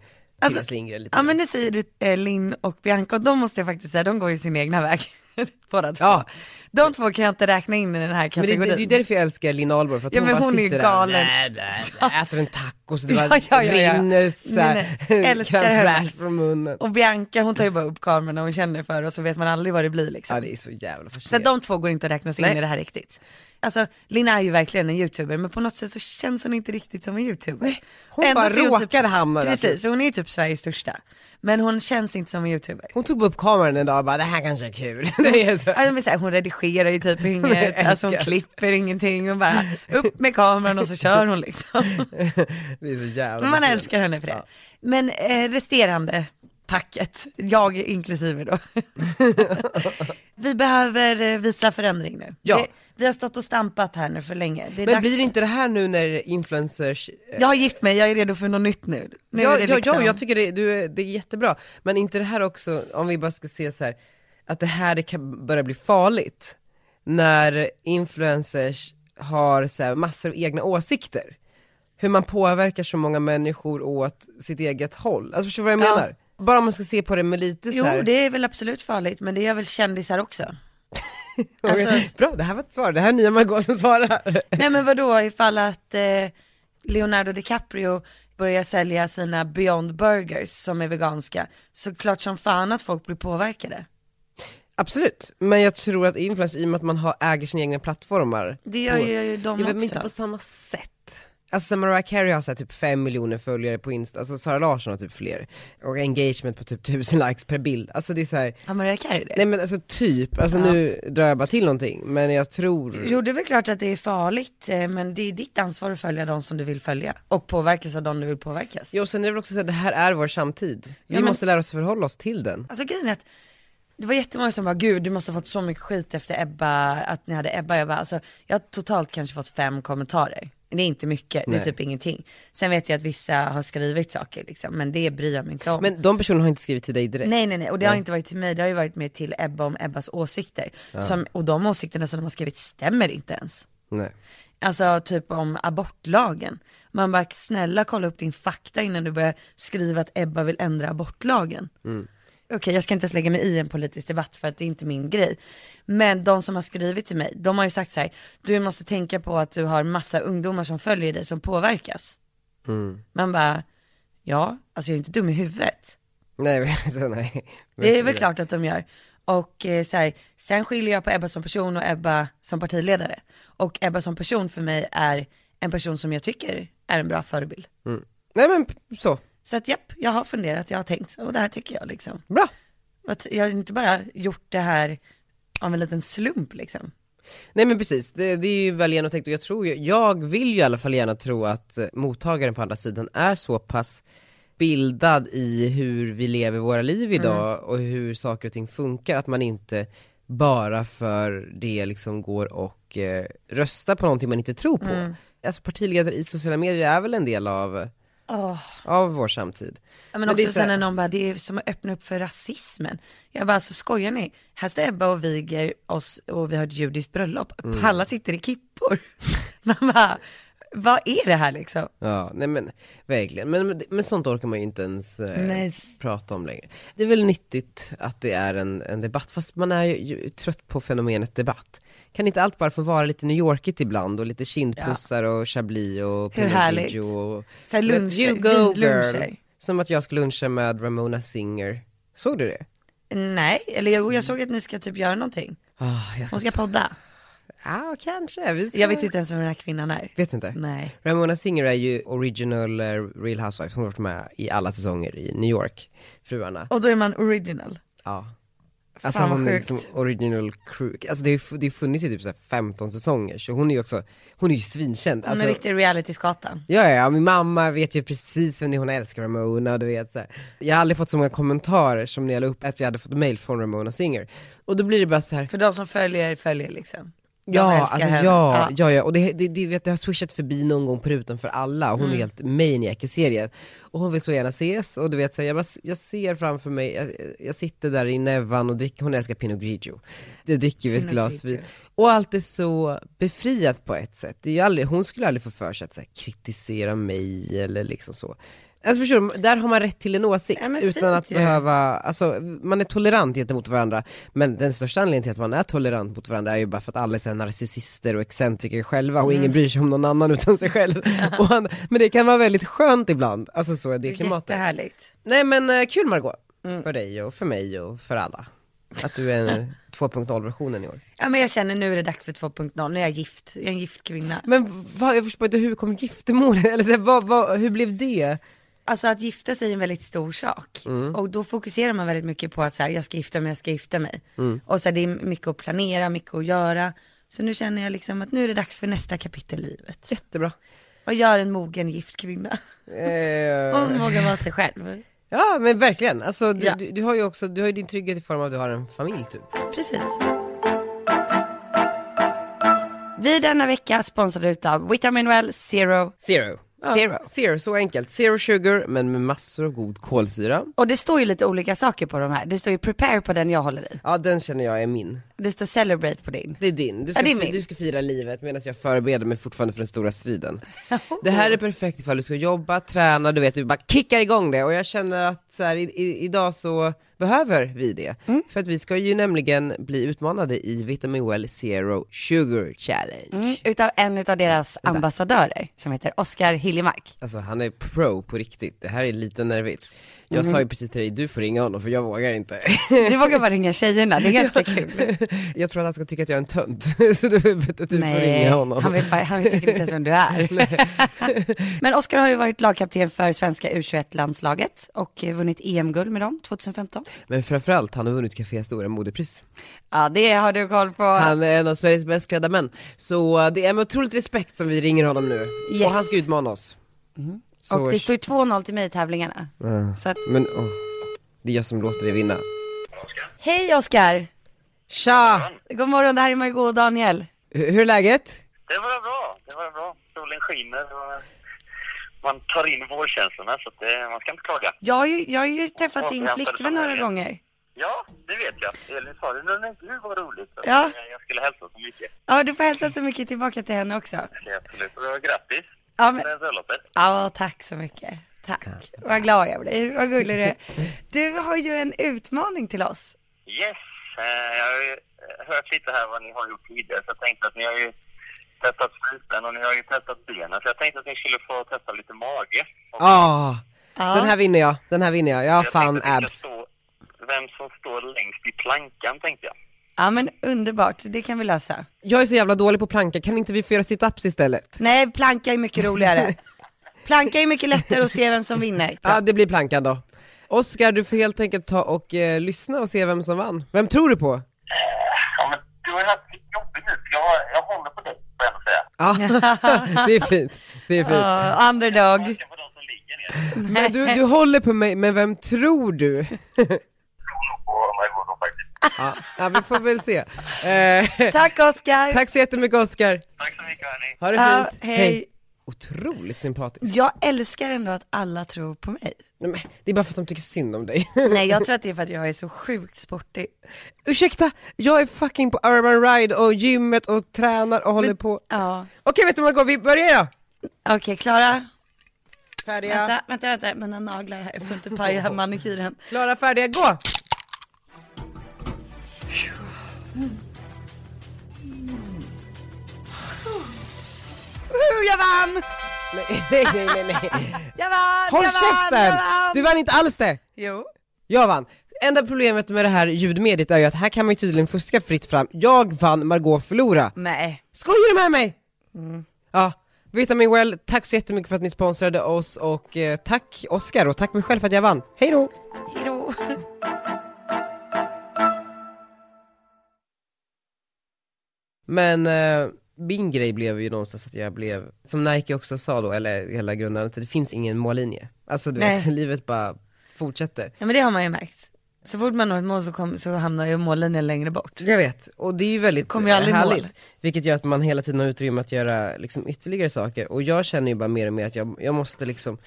A: Tilda Lindgren lite
B: Alltså, ja
A: grann.
B: men nu säger du eh, Linn och Bianca och de måste jag faktiskt säga, de går ju sin egna väg. *laughs* Båda två.
A: Ja.
B: De två kan jag inte räkna in i den här
A: Men det,
B: kategorin.
A: det, det är ju därför jag älskar Lina Ahlborg, för att
B: Ja,
A: hon
B: men
A: bara
B: hon är
A: sitter
B: galen.
A: där, nej, nej, äter en taco så det
B: *laughs* Ja,
A: bara
B: ja, ja, ja.
A: rinner så här,
B: Nej,
A: *laughs*
B: nej,
A: crème
B: älskar henne.
A: fraîche från munnen.
B: Och Bianca hon tar ju bara upp kameran och hon känner för och så vet man aldrig vad det blir liksom.
A: Ja det är så jävla
B: Så att
A: fascinerande.
B: de två går inte att räknas in
A: Nej.
B: i det här riktigt. Alltså Lina är ju verkligen en youtuber men på något sätt så känns hon inte riktigt som en youtuber.
A: hon bara
B: så är hon typ-
A: råkade hamna där.
B: Precis, hon är ju typ Sveriges största. Men hon känns inte som en youtuber.
A: Hon tog upp kameran en dag och bara det här kanske är kul. *laughs* det är så.
B: Alltså, men så här, hon redigerar
A: *laughs*
B: ju typ inget,
A: älskar.
B: alltså hon klipper ingenting, hon bara upp med kameran och så kör hon
A: *laughs*
B: liksom.
A: det är så jävla
B: Men man
A: fascinerande.
B: älskar henne för det.
A: Ja.
B: Men eh, resterande packet, jag
A: *laughs*
B: inklusive då. vi behöver eh, visa förändring nu.
A: Ja.
B: Det, vi har stått och stampat här nu för länge. Det är
A: Men
B: dags.
A: blir inte det här nu när influencers eh,
B: Jag har gift mig, jag är redo för något nytt nu. nu
A: ja,
B: är det
A: ja,
B: liksom-
A: ja, jag tycker det, du, är- det är jättebra. Men inte det här också, om vi bara ska se så här, att det här det kan börja bli farligt när influencers har så här massor av egna åsikter. Hur man påverkar så många människor åt sitt eget håll. Alltså förstår du vad jag
B: Ja.
A: menar? Bara om man ska se på det med lite så här.
B: Jo, det är väl absolut farligt, men det gör väl kändisar också.
A: *laughs*
B: alltså-
A: Bra, det här var ett svar. Det här är nya Margot som svarar.
B: Nej men vadå ifall att eh, Leonardo DiCaprio börjar sälja sina Beyond Burgers som är veganska, så klart som fan att folk blir påverkade.
A: Absolut, men jag tror att influencers, i och med att man har, äger sina egna plattformar,
B: Det gör ju de
A: Ja, men
B: också.
A: inte på samma sätt. Alltså Mariah Carey har så här typ 5 miljoner följare på Insta, alltså Sara Larsson har typ fler. Och engagement på typ 1000 likes per bild. Alltså det är så här,
B: Har Mariah Carey det?
A: nej men alltså typ, alltså nu drar jag bara till någonting, men jag tror,
B: Jo det är väl klart att det är farligt, eh, men det är ditt ansvar att följa de som du vill följa. Och påverkas av de du vill påverkas.
A: jo sen är det väl också så här, det här är vår samtid. Vi
B: men-
A: måste lära oss förhålla oss till den.
B: Alltså grejen är att det var jättemånga som bara, gud du måste ha fått så mycket skit efter Ebba, att ni hade Ebba. Jag bara, alltså jag har totalt kanske fått fem kommentarer. Det är inte mycket, det
A: Nej.
B: är typ ingenting. Sen vet jag att vissa har skrivit saker liksom, men det bryr jag mig inte om.
A: Men de personerna har inte skrivit till dig direkt.
B: Nej nej nej, och det har inte varit till mig, det har ju varit mer till Ebba om Ebbas åsikter. Som, och de åsikterna som de har skrivit stämmer inte ens.
A: Nej.
B: Alltså typ om abortlagen. Man bara, snälla kolla upp din fakta innan du börjar skriva att Ebba vill ändra abortlagen. Okej, jag ska inte ens lägga mig i en politisk debatt för att det är inte min grej. Men de som har skrivit till mig, de har ju sagt så här, du måste tänka på att du har massa ungdomar som följer dig som påverkas. Man bara, ja, alltså jag är inte dum i huvudet.
A: Nej, *laughs* alltså, nej.
B: Det är väl klart att de gör. Och eh, så här, sen skiljer jag på Ebba som person och Ebba som partiledare. Och Ebba som person för mig är en person som jag tycker är en bra förebild.
A: Nej men p- så,
B: Så att japp, jag har funderat, jag har tänkt och det här tycker jag liksom.
A: bra.
B: Att jag har inte bara gjort det här av en liten slump liksom.
A: Nej men precis, det, det är ju väl genomtänkt och jag tror ju, jag vill ju i alla fall gärna tro att eh, mottagaren på andra sidan är så pass bildad i hur vi lever våra
B: Mm.
A: liv idag och hur saker och ting funkar, att man inte bara för det liksom går och eh, röstar på någonting man inte tror på.
B: Mm.
A: Alltså partiledare i sociala medier är väl en del av,
B: Åh.
A: av vår samtid.
B: Ja, men,
A: Men det är
B: också
A: så här-
B: sen när någon bara, det är som att öppna upp för rasismen. Jag bara, alltså skojar ni? Här står Ebba och Mm. viger oss och vi har ett judiskt bröllop. Palla sitter i kippor. *laughs* Man bara, vad är det här liksom?
A: Ja, nej men verkligen. Men, men, men sånt orkar man ju inte ens eh,
B: Nej.
A: prata om längre. Det är väl nyttigt att det är en, en debatt, fast man är ju, ju trött på fenomenet debatt. Kan inte allt bara få vara lite New Yorkigt ibland och lite kindpussar och chablis och Pinot
B: härligt.
A: Grigio och...
B: Så här
A: Let
B: luncher,
A: you go
B: vinluncher.
A: girl. Som att jag skulle luncha med Ramona Singer. Såg du det?
B: Nej, eller jag, jag såg att ni ska typ göra någonting.
A: Ah, jag ska...
B: Hon ska podda.
A: ah, kanske. Vi ska...
B: Jag vet inte ens vem den här kvinnan är.
A: Vet du inte?
B: Nej.
A: Ramona Singer är ju original eh, Real Housewives, hon har varit med i alla säsonger i New York, fruarna.
B: Och då är man original.
A: Ja. Alltså
B: Fan, vad
A: hon är
B: sjukt.
A: liksom original crew, alltså det har ju fu- det har ju funnits i typ så här 15 säsonger, så hon är ju också, hon är ju svinkänd.
B: Hon är
A: Alltså,
B: en riktig reality-skata.
A: Ja, ja, ja, min mamma vet ju precis vem det är, hon älskar Ramona, du vet så här. Jag har aldrig fått så många kommentarer som när jag la upp att jag hade fått mail från Ramona Singer. Och då blir det bara så här,
B: För de som följer, följer liksom. De
A: Ja,
B: älskar
A: alltså,
B: henne.
A: ja, ja, ja, och det, det, det, vet, det har swishat förbi någon gång på rutan för alla, och
B: Mm.
A: hon är helt maniac i serien. Och hon vill så gärna ses, och du vet så här, jag, bara, jag ser framför mig, jag, jag sitter där i Nevan och dricker, hon älskar Pinot Grigio. Det dricker vi ett
B: Pinot
A: glas
B: Grigio.
A: vin. Och allt är så befriat på ett sätt. Det är ju aldrig, hon skulle aldrig få för sig att så här, kritisera mig eller liksom så. Alltså förstår du, där har man rätt till en åsikt
B: Ja, men
A: utan
B: fint
A: att
B: ju.
A: behöva behöva, alltså man är tolerant gentemot varandra, men den största anledningen till att man är tolerant mot varandra är ju bara för att alla är så här narcissister och excentriker själva och ingen bryr sig om någon annan utan sig *laughs* själv. Och han, men det kan vara väldigt skönt ibland, alltså så är det klimatet.
B: Jättehärligt.
A: Nej men eh, kul Margot för dig och för mig och för alla. Att du är *laughs* en 2.0 versionen i år.
B: Ja men jag känner nu är det dags för 2.0, nu är jag gift, jag är en gift kvinna.
A: Men vad, jag förstår inte hur kom giftermålet, eller så, här, vad, vad, hur blev det?
B: Alltså att gifta sig är en väldigt stor sak. Och då fokuserar man väldigt mycket på att så här, jag ska gifta mig, jag ska gifta mig. Och så här, det är mycket att planera, mycket att göra. Så nu känner jag liksom att nu är det dags för nästa kapitel i livet.
A: Jättebra.
B: Vad gör en mogen gift kvinna?
A: Eh,
B: Hon vågar vara sig själv.
A: Ja men verkligen, alltså, du,
B: Ja.
A: du, du har ju också, du har ju din trygghet i form av att du har en familj typ.
B: Precis. Vi är denna vecka sponsrade utav Vitamin Well Zero.
A: Zero.
B: Zero.
A: Zero, så enkelt. Zero sugar, men med massor av god kolsyra.
B: Och det står ju lite olika saker på de här. Det står ju prepare på den jag håller i.
A: Ja, den känner jag är min.
B: Det står celebrate på din.
A: Det är din. Du ska,
B: Ja, det är
A: fi-
B: min.
A: Du ska fira livet medan jag förbereder mig fortfarande för den stora *laughs* striden. Det här är perfekt ifall du ska jobba, träna, du vet, du bara kickar igång det. Och jag känner att så här, i, i, idag så behöver vi det. För att vi ska ju nämligen bli utmanade i Vitamin Well Zero Sugar Challenge.
B: Mm, utav en utav deras ambassadörer som heter Oskar Hiljemark.
A: Alltså han är pro på riktigt, det här är lite nervigt. Jag sa ju precis till dig, du får ringa honom för jag vågar inte. *laughs*
B: Du vågar bara ringa tjejerna, det är *laughs* ganska kul.
A: Jag tror att han ska tycka att jag är en tönt, *laughs* så det är bättre att du får ringa honom.
B: han vet, bara, han vet säkert inte ens vem du *laughs* är. *laughs* Men Oskar har ju varit lagkapten för svenska U21-landslaget och eh, vunnit EM-guld med dem 2015.
A: Men framförallt, han har vunnit Café Stora modepris.
B: Ja, det har du koll på.
A: Han är en av Sveriges bäst klädda män. Så eh, det är med otroligt respekt som vi ringer honom nu.
B: Yes. Mm.
A: Och han ska utmana oss. Så,
B: och det står ju 2-0 till mig i tävlingarna. Så att,
A: Men åh, det är jag som låter dig vinna.
B: hej Oskar!
A: Tja!
B: God morgon, det här är Margot och Daniel.
A: Hur hur är läget?
C: Det var bra, det var bra. Solen skiner och man tar in vårkänslorna så att det, man ska inte klaga.
B: Jag har ju, jag har ju träffat din flickvän några gånger.
C: Ja, det vet jag. Elin sa det, men gud vad roligt.
B: Ja.
C: Jag- Jag skulle hälsa så mycket.
B: Ja, du får hälsa så mycket tillbaka till henne också.
C: Det är Absolut. Och eh, Grattis
B: Ja, men,
C: med bröllopet.
B: ja tack så mycket. Tack. Vad glad jag blir. Vad gullig du är. Du har ju en utmaning till oss.
C: Yes, eh, jag har ju eh, hört lite här vad ni har gjort tidigare så jag tänkte att ni har ju testat strupen och ni har ju testat benen så jag tänkte att ni skulle få testa lite mage. Och
A: Ah,
B: Ja.
A: Den här vinner jag, den här vinner jag. Jag har
C: jag tänkte
A: fan
C: att ni ska
A: abs.
C: stå- Vem som står längst i plankan tänkte jag.
B: Ja, men underbart. Det kan vi lösa.
A: Jag är så jävla dålig på planka, kan inte vi få göra sit-ups istället?
B: Nej, planka är mycket roligare. Planka är mycket lättare att se vem som vinner.
A: Ja, det blir plankan då. Oskar, du får helt enkelt ta och eh, lyssna och se vem som vann. Vem tror du på?
C: Ja, men du har ju haft lite jobbigt nu. Jag, jag håller på dig, får jag ändå säga.
A: Ja, *laughs* det är fint. Det är fint.
B: Ja, underdog.
C: Tänka på de som ligger ner.
A: Men du, du håller på mig, men vem tror du?
C: Tror nog på Margot då faktiskt.
A: Ja, ja vi får väl se. Eh, *laughs*
B: Tack Oskar.
A: tack så jättemycket Oskar.
C: Tack så mycket hörni.
A: Ha det
B: Ja,
A: fint.
B: hej.
A: Otroligt sympatisk.
B: Jag älskar ändå att alla tror på mig.
A: Nej, men Det är bara för att de tycker synd om dig. *laughs*
B: Nej, jag tror att det är för att jag är så sjukt sportig.
A: Ursäkta, jag är fucking på Urban Ride och gymmet och tränar och håller på.
B: Ja.
A: Okej, vet du Margot, vi börjar då.
B: Okej, klara?
A: Färdiga,
B: Vänta, vänta, vänta, mina naglar här, jag får inte paja *laughs* manikyren.
A: klara, färdiga, gå!
B: Uh, jag vann!
A: Nej, *laughs* nej, nej, nej, nej.
B: Jag vann!
A: Håll
B: jag Vann, jag
A: käften!
B: vann.
A: Du vann inte alls det!
B: Jo.
A: Jag vann. Enda problemet med det här ljudmediet är ju att här kan man ju tydligen fuska fritt fram. Jag vann, Margot förlora.
B: Nej.
A: Skojar du med mig?
B: Mm.
A: Ja, Vitamin Well, tack så jättemycket för att ni sponsrade oss och eh, tack Oscar och tack mig själv för att jag vann. Hej då!
B: Hejdå.
A: Men eh, min grej blev ju någonstans att jag blev, som Nike också sa då, eller hela grundaren, att det finns ingen mållinje. Alltså du vet,
B: Nej.
A: *laughs* livet bara fortsätter.
B: Ja men det har man ju märkt. Så fort man når ett mål så, kom, så hamnar ju mållinjen längre bort.
A: Jag vet, och det är ju väldigt
B: kommer ju aldrig i
A: härligt.
B: mål.
A: Vilket gör att man hela tiden har utrymme att göra liksom, ytterligare saker. Och jag känner ju bara mer och mer att jag, jag måste liksom,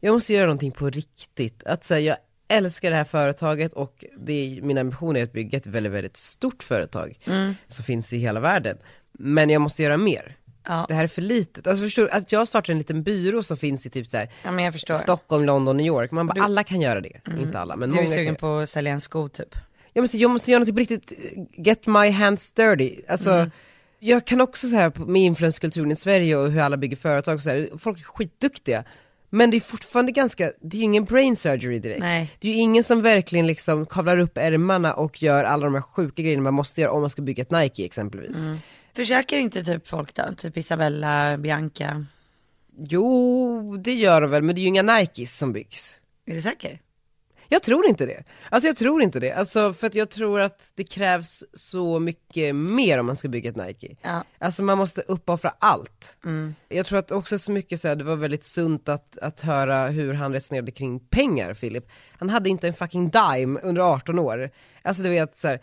A: jag måste göra någonting på riktigt. Att säga jag älskar det här företaget och det är, min ambition är att bygga ett väldigt, väldigt stort företag
B: Mm.
A: som finns i hela världen. Men jag måste göra mer.
B: Ja.
A: Det här är för litet. Alltså förstår du, att jag startar en liten byrå som finns i typ så här,
B: Ja men jag förstår. Mm.
A: Stockholm, London, New York. Man bara, alla kan göra det. Inte alla, men
B: Du är
A: många kan
B: sugen på att sälja en sko typ.
A: jag måste, jag måste göra något på riktigt, eh, get my hands dirty. Alltså,
B: Mm.
A: Jag kan också så här på- med influenskulturen i Sverige och hur alla bygger företag och så här, folk är skitduktiga. Men det är fortfarande ganska, det är ju ingen brain surgery direkt.
B: Nej.
A: Det är ju ingen som verkligen liksom kavlar upp ärmarna och gör alla de här sjuka grejerna man måste göra om man ska bygga ett Nike exempelvis.
B: Mm. Försöker inte typ folk då? Typ Isabella, Bianca.
A: Jo, det gör de väl, men det är ju inga Nikes som byggs.
B: Är du säker?
A: Jag tror inte det. Alltså jag tror inte det. Alltså för att jag tror att det krävs så mycket mer om man ska bygga ett Nike.
B: Ja.
A: Alltså man måste uppoffra allt. Jag tror att också så mycket så här, det var väldigt sunt att, att höra hur han resonerade kring pengar, Filip. Han hade inte en fucking dime under 18 år. Alltså du vet så här,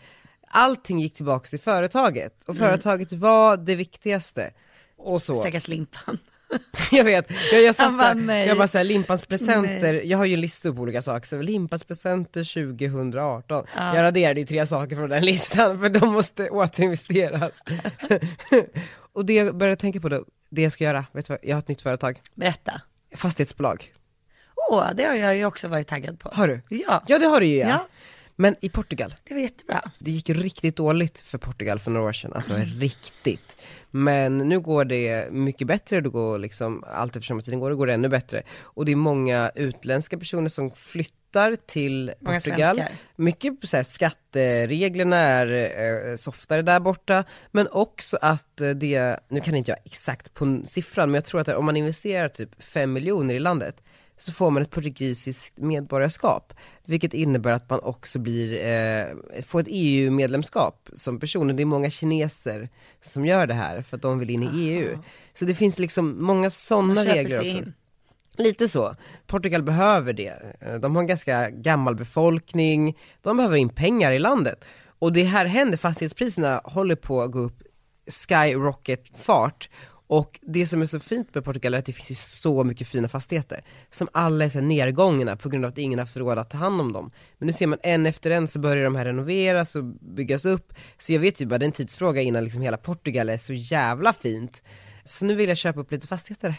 A: allting gick tillbaka till företaget och företaget var det viktigaste. Och så.
B: Stackars Limpan.
A: *laughs* Jag vet, jag, jag
B: Han
A: satt där,
B: bara, nej.
A: jag bara såhär, limpans presenter, jag har ju en lista på olika saker, så limpans presenter 2018. Jag raderade ju tre saker från den listan för de måste återinvesteras. *laughs* och det jag började tänka på då, det jag ska göra, vet du vad, jag har ett nytt företag,
B: *laughs* Berätta.
A: fastighetsbolag.
B: Åh, det har jag ju också varit taggad på.
A: Har du?
B: Ja.
A: Ja det har du ju ja.
B: Ja.
A: Men i Portugal,
B: Det var jättebra.
A: det gick riktigt dåligt för Portugal för några år sedan, alltså
B: Mm.
A: riktigt. Men nu går det mycket bättre, det går liksom, allt eftersom tiden går, det går det ännu bättre. Och det är många utländska personer som flyttar till
B: Många
A: Portugal.
B: svenskar.
A: Mycket så här, skattereglerna är eh, softare där borta, men också att eh, det, nu kan inte jag exakt på n- siffran, men jag tror att om man investerar typ 5 miljoner i landet, så får man ett portugisiskt medborgarskap, vilket innebär att man också blir, eh, får ett EU-medlemskap som person. Och det är många kineser som gör det här för att de vill in i EU. Så det finns liksom många
B: Man
A: sådana
B: köper
A: regler
B: sig
A: också.
B: in.
A: Lite så. Portugal behöver det. Eh, De har en ganska gammal befolkning, de behöver in pengar i landet. Och det här händer, fastighetspriserna håller på att gå upp skyrocket-fart. Och det som är så fint med Portugal är att det finns ju så mycket fina fastigheter, som alla är så här nedgångna på grund av att ingen haft råd att ta hand om dem. Men nu ser man en efter en så börjar de här renoveras och byggas upp. Så jag vet ju bara, det är en tidsfråga innan liksom hela Portugal är så jävla fint. Så nu vill jag köpa upp lite fastigheter.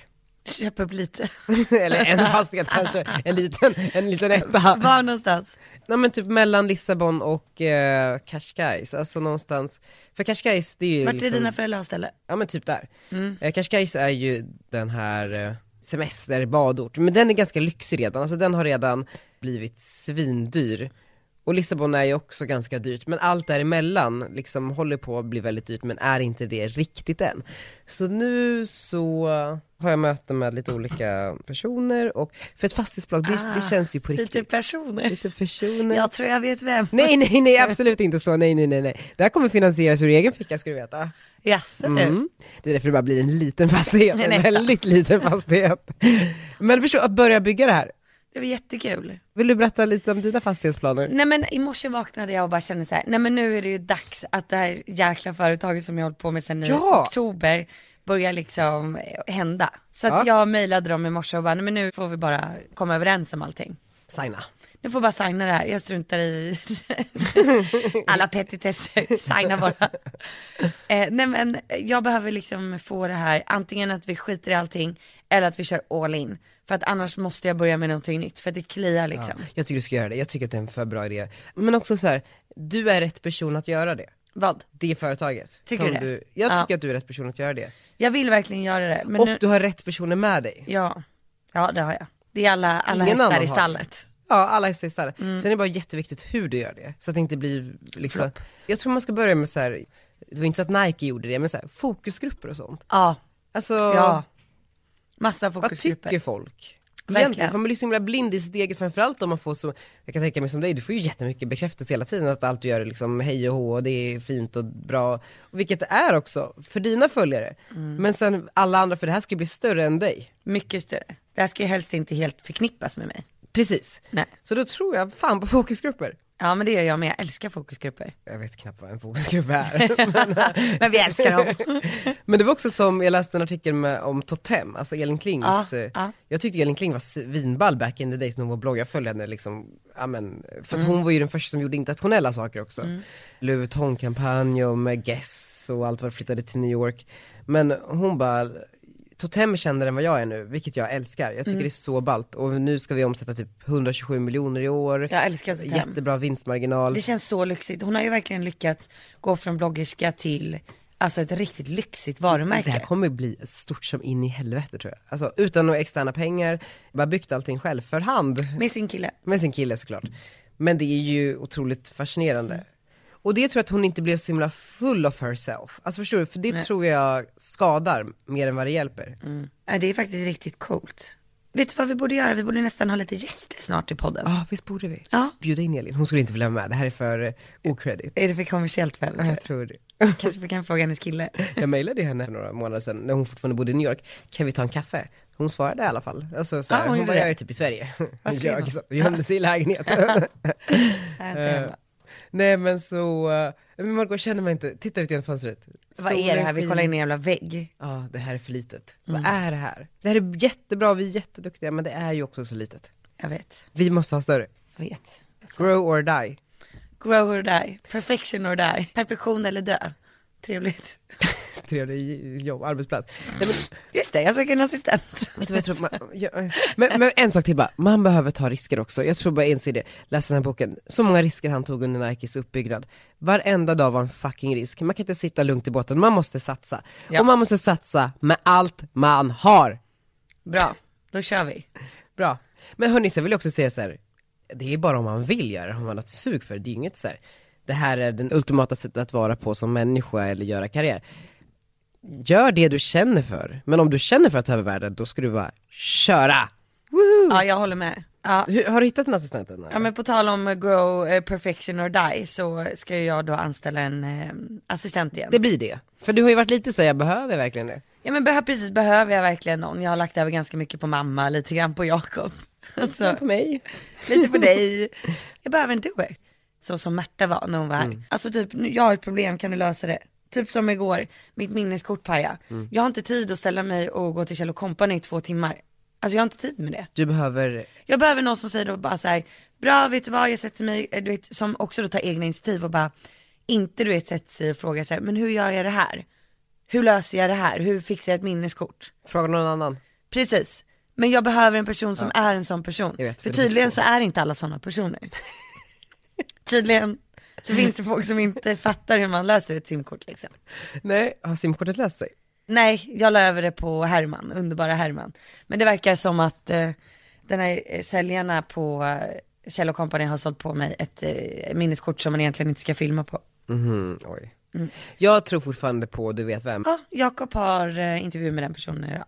B: Köp upp *laughs* lite.
A: *laughs* Eller en fastighet kanske, en liten, en liten etta.
B: Var någonstans?
A: Nej men typ mellan Lissabon och eh, Cascais, alltså någonstans. För Cascais det är ju
B: Vart är
A: liksom,
B: dina föräldrar har ställe?
A: ja men typ där. Eh, Cascais är ju den här eh, semesterbadort, men den är ganska lyxig redan, alltså den har redan blivit svindyr. Och Lissabon är ju också ganska dyrt, men allt däremellan liksom håller på att bli väldigt dyrt men är inte det riktigt än. Så nu så har jag möten med lite olika personer och, för ett fastighetsbolag det, det känns ju på riktigt.
B: Ah, Lite personer.
A: Lite
B: *laughs*
A: personer.
B: Jag tror jag vet vem.
A: Nej nej nej absolut inte så, nej nej nej nej. Det här kommer finansieras ur egen ficka ska du veta.
B: Jaså du?
A: Mm. Det är därför det bara blir en liten fastighet,
B: En
A: en,
B: etta.
A: väldigt liten fastighet. Men förstå, att börja bygga det här.
B: Det var jättekul.
A: Vill du berätta lite om dina fastighetsplaner?
B: Nej men i morse vaknade jag och bara kände så här, nej men nu är det ju dags att det här jäkla företaget som jag har hållit på med sedan i
A: Ja.
B: oktober börjar liksom eh, hända. Så att
A: Ja.
B: jag mejlade dem i morse och bara, nej men nu får vi bara komma överens om allting.
A: Signa.
B: jag får bara signa det här, jag struntar i *laughs* alla petitesser, signa bara. Eh, nej men jag behöver liksom få det här, antingen att vi skiter i allting eller att vi kör all in. För att annars måste jag börja med någonting nytt, för att det kliar liksom.
A: Jag tycker du ska göra det, jag tycker att det är en för bra idé. Men också så här, du är rätt person att göra det.
B: Vad?
A: Det företaget.
B: Tycker
A: som
B: du det?
A: du Jag
B: Ja.
A: tycker att du är rätt person att göra det.
B: Jag vill verkligen göra det. Men
A: och
B: nu,
A: du har rätt personer med dig.
B: ja. ja, det har jag. Det är alla, alla
A: Ingen
B: hästar
A: annan
B: i
A: har.
B: stallet.
A: Ja, alla hästar i stallet.
B: Mm.
A: Sen är det bara jätteviktigt hur du gör det, så att det inte blir liksom, jag tror man ska börja med så här. det var inte så att Nike gjorde det, men så här, fokusgrupper och sånt.
B: Ja,
A: Alltså,
B: ja. Massa
A: vad
B: fokusgrupper.
A: tycker folk?
B: Verkligen.
A: Egentligen, för man blir så himla blind i sitt eget, framförallt om man får så, jag kan tänka mig som dig, du får ju jättemycket bekräftelse hela tiden att allt du gör är liksom hej och hå, och det är fint och bra, vilket det är också, för dina följare. Men sen alla andra, för det här ska ju bli större än dig.
B: Mycket större. Det här ska ju helst inte helt förknippas med mig.
A: Precis.
B: Nej.
A: Så då tror jag fan på fokusgrupper.
B: Ja men det gör jag med, jag älskar fokusgrupper.
A: jag vet knappt vad en fokusgrupp är.
B: *laughs* Men vi älskar dem.
A: *laughs* Men det var också som, jag läste en artikel med, om Totem, alltså Elin Klings,
B: Ja,
A: eh,
B: ja.
A: jag tyckte Elin Kling var svinball back in the days när hon var blogg, jag följde henne liksom, ja men, för
B: Mm.
A: att hon var ju den första som gjorde internationella saker också. Mm. Louboutin-kampanj och med Guess och allt vad det flyttade till New York. Men hon bara, Totem är kändare än vad jag är nu, vilket jag älskar. Jag tycker
B: Mm.
A: det är så ballt och nu ska vi omsätta typ 127 miljoner i år.
B: Jag älskar Totem.
A: Jättebra vinstmarginal.
B: Det känns så lyxigt, hon har ju verkligen lyckats gå från bloggerska till Alltså ett riktigt lyxigt varumärke.
A: Det här kommer bli stort som in i helvete tror jag. Alltså utan några externa pengar, bara byggt allting själv för hand.
B: Med sin kille.
A: Med sin kille såklart. Men det är ju otroligt fascinerande. Och det tror jag att hon inte blev så himla full of herself. Alltså förstår du? För det tror jag skadar mer än vad det hjälper.
B: Mm. Ja, det är faktiskt riktigt coolt. Vet du vad vi borde göra? Vi borde nästan ha lite gäster snart i podden.
A: Ja, visst borde vi?
B: Ja.
A: Bjuda in Elin, hon skulle inte vilja vara med. Det här är för eh, okredit.
B: Är det för kommersiellt väl?
A: Ja,
B: tror
A: jag
B: jag?
A: tror det.
B: Kanske vi kan fråga
A: *laughs*
B: hennes kille.
A: Jag mejlade ju henne för några månader sedan när hon fortfarande bodde i New York. Kan vi ta en kaffe? Hon svarade i alla fall. Alltså, så här,
B: Ah, hon
A: hon,
B: gjorde
A: bara,
B: det.
A: jag är typ i Sverige. Hon
B: skrev hon?
A: ljög, så- gömde sig i
B: *laughs*
A: lägenheten.
B: Jag är inte
A: Eh,
B: hemma.
A: Nej men så, eh, men Margot känner man inte, titta ut genom fönstret.
B: Vad är det här? Vi
A: Solen
B: kollar in
A: skiner.
B: i Mm. en jävla vägg.
A: Ja, det här är för litet. Vad är det här? Det här är jättebra, vi är jätteduktiga, men det är ju också så litet.
B: Jag vet,
A: Vi måste ha större.
B: jag vet. Alltså,
A: Grow or die.
B: Grow or die, perfection or die, perfektion eller dö. Trevligt. *laughs*
A: Trevlig jobb, arbetsplats. Nej, men,
B: Just det, jag söker en assistent.
A: vet du vad jag tror? Man, ja, eh, men, men en sak till bara, man behöver ta risker också. Jag tror bara inse det, läs den här boken. Så många risker han tog under Nikes uppbyggnad. Varenda dag var en fucking risk. Man kan inte sitta lugnt i båten, man måste satsa.
B: Ja.
A: Och man måste satsa med allt man har.
B: Bra, då kör vi.
A: Bra. Men hörni, så vill jag också säga så här. det är bara om man vill göra det, om man har ett sug för det. Det är ju inget så här. det här är den ultimata sättet att vara på som människa eller göra karriär. Gör det du känner för, men om du känner för att ta över världen, då ska du bara köra!
B: Ja, jag håller med. Ja.
A: Hur, har du hittat den assistenten? eller?
B: Ja men på tal om eh, grow, eh, perfection or die så ska ju jag då anställa en eh, assistent igen.
A: Det blir det. För du har ju varit lite så här, jag behöver verkligen det.
B: Ja men behö- precis, behöver jag verkligen någon? Jag har lagt över ganska mycket på mamma, lite grann på Jakob. *laughs* Alltså,
A: På mig.
B: lite på dig. Jag behöver en doer. Så som Märta var när hon var här. Alltså typ, nu- jag har ett problem, kan du lösa det? Typ som igår, mitt minneskort pajade. Jag har inte tid att ställa mig och gå till Kjell Company i två timmar. Alltså jag har inte tid med det.
A: Du behöver,
B: Jag behöver någon som säger då bara så här, bra vet du vad, jag sätter mig, eh, du vet, som också då tar egna initiativ och bara, inte du vet sätter sig och frågar så här, men hur gör jag det här? Hur löser jag det här? Hur fixar jag ett minneskort?
A: fråga någon annan.
B: Precis, men jag behöver en person som är en sån person.
A: Jag vet,
B: för
A: för det är
B: tydligen så
A: så.
B: är inte alla såna personer. tydligen så finns det folk som inte fattar hur man löser ett simkort liksom.
A: Nej, har simkortet löst sig?
B: Nej, jag la över det på Herman, underbara Herman. Men det verkar som att eh, den här eh, säljarna på eh, Kjell Company har sålt på mig ett eh, minneskort som man egentligen inte ska filma på.
A: Mhm, oj. Jag tror fortfarande på du vet vem.
B: Ja, Jakob har eh, intervju med den personen idag.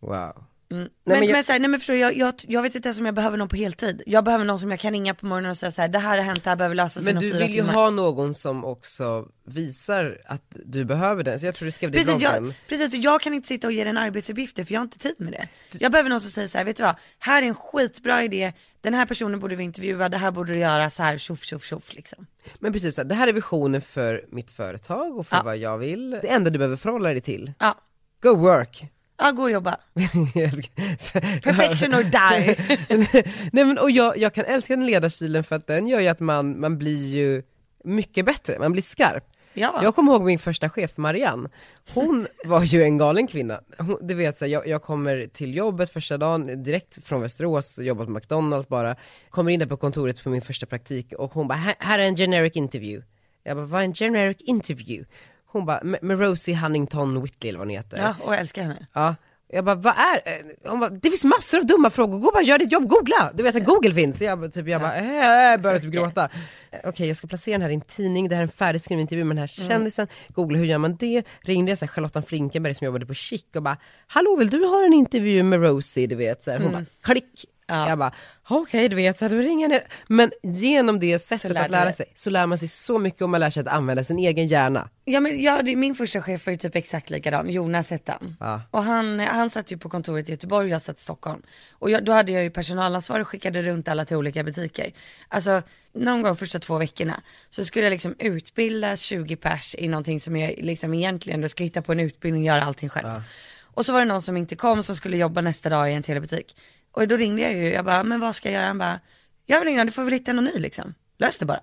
A: Wow.
B: Nej, men,
A: men
B: men,
A: jag-
B: så här, nej men förstår du, jag, jag, jag vet inte ens om jag behöver någon på heltid. Jag behöver någon som jag kan ringa på morgonen och säga så här, det här har hänt, det här behöver lösas
A: Men
B: inom
A: du
B: fyra
A: vill ju
B: timmar.
A: ha någon som också visar att du behöver den, så jag tror du skrev det i
B: Precis,
A: bloggen.
B: jag, precis, för jag kan inte sitta och ge den arbetsuppgifter för jag har inte tid med det. Jag behöver någon som säger så här, vet du vad, här är en skitbra idé, den här personen borde vi intervjua, det här borde du göra, så här tjoff tjoff tjoff liksom.
A: Men precis, så här, det här är visionen för mitt företag och för
B: Ja.
A: vad jag vill. Det enda du behöver förhålla dig till,
B: Ja,
A: go work! *laughs*
B: Ja, gå och jobba.
A: Perfection
B: Perfection or die.
A: *laughs* Nej men och jag, jag kan älska den ledarstilen för att den gör ju att man, man blir ju mycket bättre, man blir skarp.
B: Ja.
A: Jag kommer ihåg min första chef, Marianne. Hon var ju en galen kvinna. Hon, du vet, så här, jag, jag kommer till jobbet första dagen, direkt från Västerås, jobbat på McDonalds bara. Kommer in där på kontoret på min första praktik och hon bara, här, här är en generic interview. Jag bara, vad är en generic interview? Hon bara, med med Rosie Huntington Whitley eller vad hon heter.
B: Ja, och jag älskar henne.
A: Ja. Jag bara, vad är, eh, hon bara, det finns massor av dumma frågor, gå bara gör ditt jobb, googla! Du vet att google finns. Så Jag, bara, typ, jag bara, äh, äh, började typ gråta. Eh, Okej jag ska placera den här i en tidning, det här är en färdigskriven intervju med den här kändisen, googla hur gör man det? Ringde jag så här, Charlotta Flinkenberg som jobbade på Chic och bara, hallå vill du ha en intervju med Rosie? Du vet så här, hon bara, klick! Jag bara, okej du vet, så här, då ringer jag ner. Men genom det sättet
B: lärde
A: att lära
B: du-
A: sig så lär man sig så mycket och man lär sig att använda sin egen hjärna.
B: Ja men jag, hade- min första chef var ju typ exakt likadan, Jonas hette han.
A: Ja.
B: Och han, han satt ju på kontoret i Göteborg och jag satt i Stockholm. Och jag, då hade jag ju personalansvar och skickade runt alla till olika butiker. Alltså någon gång första två veckorna så skulle jag liksom utbilda 20 pers i någonting som jag liksom egentligen då ska hitta på en utbildning och göra allting själv. Och så var det någon som inte kom som skulle jobba nästa dag i en telebutik. Och då ringde jag ju, jag bara, men vad ska jag göra? Han bara, jag vill ingen du får väl hitta någon ny liksom. Lös det bara.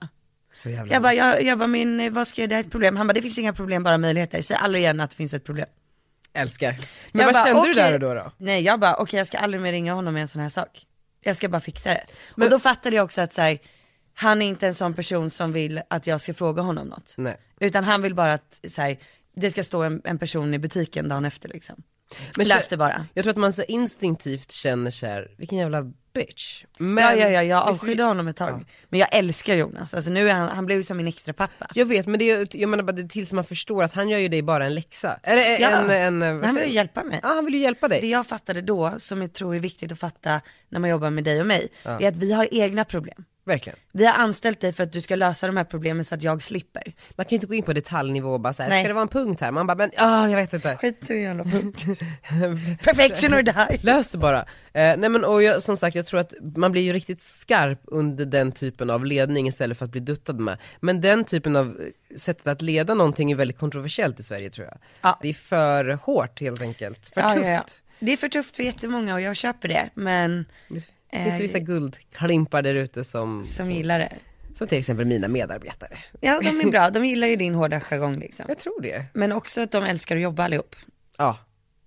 A: Så jävla
B: Jag bara, jag, jag bara min, eh, vad ska jag, det här är ett problem. Han bara, det finns inga problem, bara möjligheter. Säg aldrig igen att det finns ett problem.
A: älskar. Men
B: jag
A: vad
B: bara,
A: kände du
B: okej.
A: där och då? då?
B: Nej, jag bara, okej jag ska aldrig mer ringa honom med en sån här sak. Jag ska bara fixa det. Men och då fattade jag också att så här, han är inte en sån person som vill att jag ska fråga honom något.
A: Nej.
B: Utan han vill bara att så här, det ska stå en, en person i butiken dagen efter liksom. Men Lös
A: så-
B: det bara.
A: Jag tror att man så instinktivt känner så här, vilken jävla bitch. Men,
B: ja, ja, ja, jag
A: Visst,
B: avskydde honom ett tag. Men jag älskar Jonas, alltså nu är han, han blev ju som min extra pappa.
A: Jag vet, men det, är- jag menar bara det tills man förstår att han gör ju dig bara en läxa. Eller eh,
B: Ja.
A: en, en, en, vad
B: han vill
A: säger-
B: ju hjälpa mig.
A: Ja, han vill ju hjälpa
B: Det
A: dig.
B: jag fattade då, som jag tror är viktigt att fatta när man jobbar med dig och mig, är att vi har egna problem.
A: Verkligen.
B: Vi har anställt dig för att du ska lösa de här problemen så att jag slipper.
A: Man kan ju inte gå in på detaljnivå och bara så här,
B: Nej.
A: ska det vara en punkt här? Man bara, men ah, jag vet inte.
B: Skit i jävla punkt. *laughs* Perfection or die.
A: Lös det bara. Eh, nej men och jag, som sagt, jag tror att man blir ju riktigt skarp under den typen av ledning istället för att bli duttad med. Men den typen av eh, sättet att leda någonting är väldigt kontroversiellt i Sverige tror jag.
B: Ja.
A: Det är för hårt helt enkelt, för tufft.
B: Det är för tufft för jättemånga och jag köper det, men
A: Visst
B: Eh,
A: finns det vissa guldklimpar där ute som,
B: som gillar det.
A: som till exempel mina medarbetare?
B: Ja, de är bra. De gillar ju din hårda jargong liksom.
A: Jag tror det.
B: Men också att de älskar att jobba allihop.
A: Ja.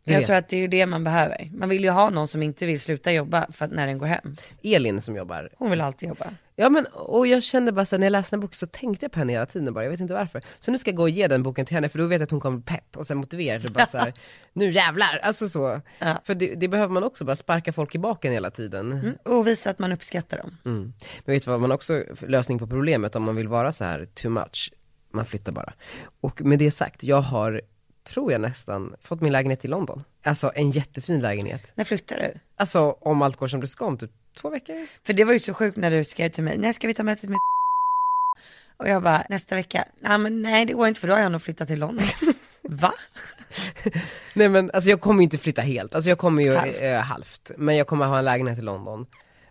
A: det
B: Jag
A: vet
B: tror att det är ju det man behöver. Man vill ju ha någon som inte vill sluta jobba för att när den går hem.
A: Elin som jobbar.
B: Hon vill alltid jobba.
A: Ja men, och jag kände bara så här, när jag läste den här boken så tänkte jag på henne hela tiden bara, jag vet inte varför. Så nu ska jag gå och ge den boken till henne för då vet jag att hon kommer bli pepp och sen motiverad och bara så här, nu jävlar! Alltså så.
B: Ja. Mm.
A: För det, det behöver man också, bara sparka folk i baken hela tiden.
B: Och visa att man uppskattar dem.
A: Mm. Men vet du vad man också, lösning på problemet om man vill vara så här too much, man flyttar bara. Och med det sagt, jag har, tror jag nästan, fått min lägenhet i London. Alltså en jättefin lägenhet.
B: När flyttar du?
A: Alltså om allt går som det ska om typ två veckor.
B: För det var ju så sjukt när du skrev till mig, när ska vi ta mötet med Och jag bara, nästa vecka? Nej men nej det går inte för då har jag nog flyttat
A: *laughs*
B: till London. Va?
A: Nej men alltså jag kommer ju inte flytta helt, alltså jag kommer ju
B: Halvt.
A: halvt. Eh, halvt. Men jag kommer ha en lägenhet i London.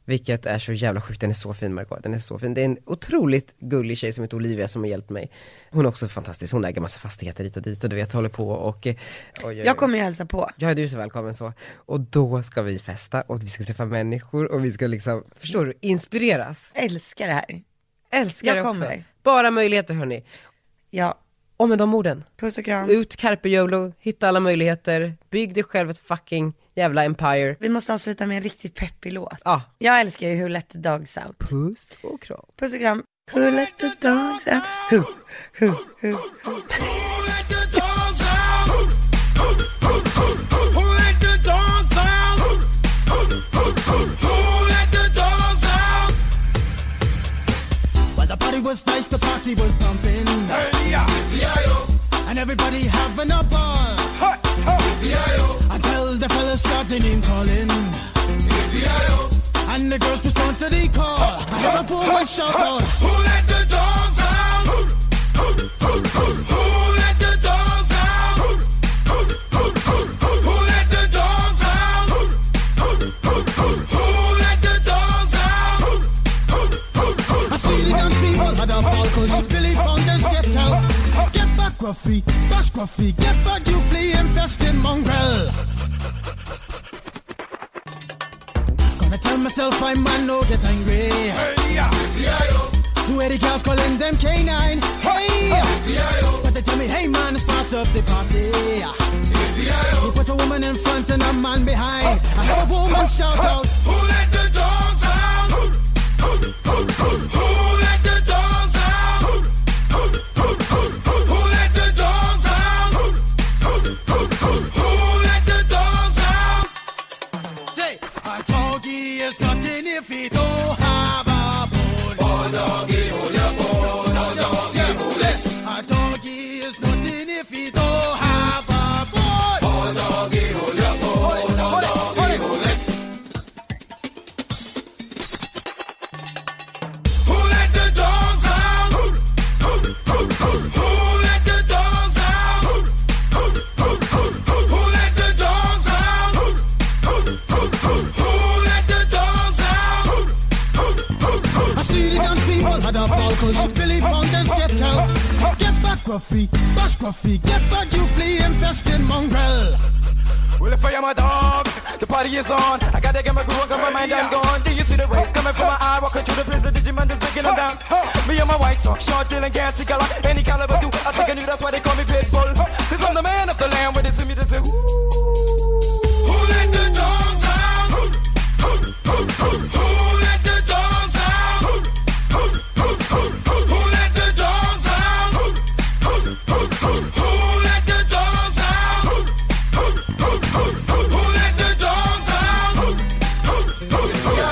A: Vilket är så jävla sjukt, den är så fin Margot, den är så fin. Det är en otroligt gullig tjej som heter Olivia som har hjälpt mig. Hon är också fantastisk, hon äger massa fastigheter hit och dit och du vet, håller på och... eh, oj, oj, oj.
B: Jag kommer ju hälsa på.
A: Ja, du är så välkommen så. Och då ska vi festa och vi ska träffa människor och vi ska liksom, förstår du, inspireras.
B: Jag älskar det här.
A: Älskar
B: Jag
A: det också.
B: kommer.
A: Bara möjligheter hörni.
B: Ja,
A: Och med de orden,
B: puss och kram.
A: ut carpe YOLO, hitta alla möjligheter, bygg dig själv ett fucking jävla empire.
B: Vi måste avsluta med en riktigt peppig låt.
A: Ja.
B: Jag älskar ju Who Let The Dogs Out.
A: Puss och kram.
B: Puss och kram. Who Let The Dogs Out. Who, who, who.
D: While the party was nice, the party was pumping. And everybody having a ball. Until the fellas started name calling. And the girls respond to the call. I have a poor one shout out. Who let the dogs out? Who let the dogs out? Who let the dogs out? Who let the dogs out? I see the young people had a ball cause she Billy found them stepped out. Get back, Ruffy, bash Ruffy, get back, you flea infesting mongrel. myself, I'm man, no get angry. Two Eddie girls calling them canine. Hey, but they tell me, hey man, it's part of the party. You put a woman in front and a man behind. I heard a woman shout out. Who let the dogs out? Who, who, who, who, who let the dogs out? Who, who, who, who, who, who let the dogs out? Who, who, who, who, who let the dogs out? Say, a doggy is nothing if he don't have a bone. Oh, doggy, hold your bone. Oh, doggy, hold it. A doggy is nothing if he don't have a bone. Oh, doggy, hold your bone. Oh, doggy, hold it. Who let the dogs out? Who, who, who, who, who let the dogs out? Who, who, who, who, who, who let the dogs out? Who, who, who, who, who let the dogs out? Who, who, who, who, I see the dance people had a ball 'cause Billy Fountains get out. Get back, Gruffy, bash Gruffy, get back, you flea infesting mongrel.
E: Well, if I am a dog, the party is on. I gotta get my groove on, 'cause my mind, I'm gone. Do you see the rays coming from my eye? Walking through the prison, Digimon is breaking them down. Me and my white talk, short, dealing, gassy color. Any caliber, do I think I knew that's why they call me Pitbull. Cause I'm the man of the land with it to me to do.
D: Who let the dogs out? Who, who, who, who, who let the dogs out? Who, who, who, who, who, who let the dogs out? Who, who, who, who, who let the dogs out? Who, who, who, who, who, who let the dogs out? Who, who, who, who, who let the dogs out?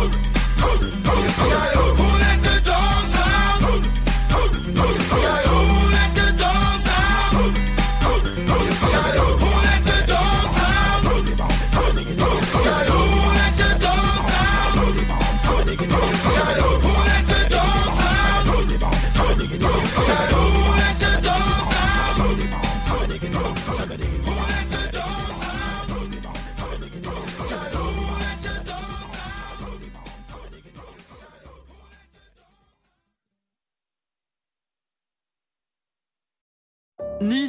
D: Who, who, who, who, who let the dogs out? Who, who, who, who, who let the dogs out? Who, who, who, who, who let the dogs out? Who,
F: Ny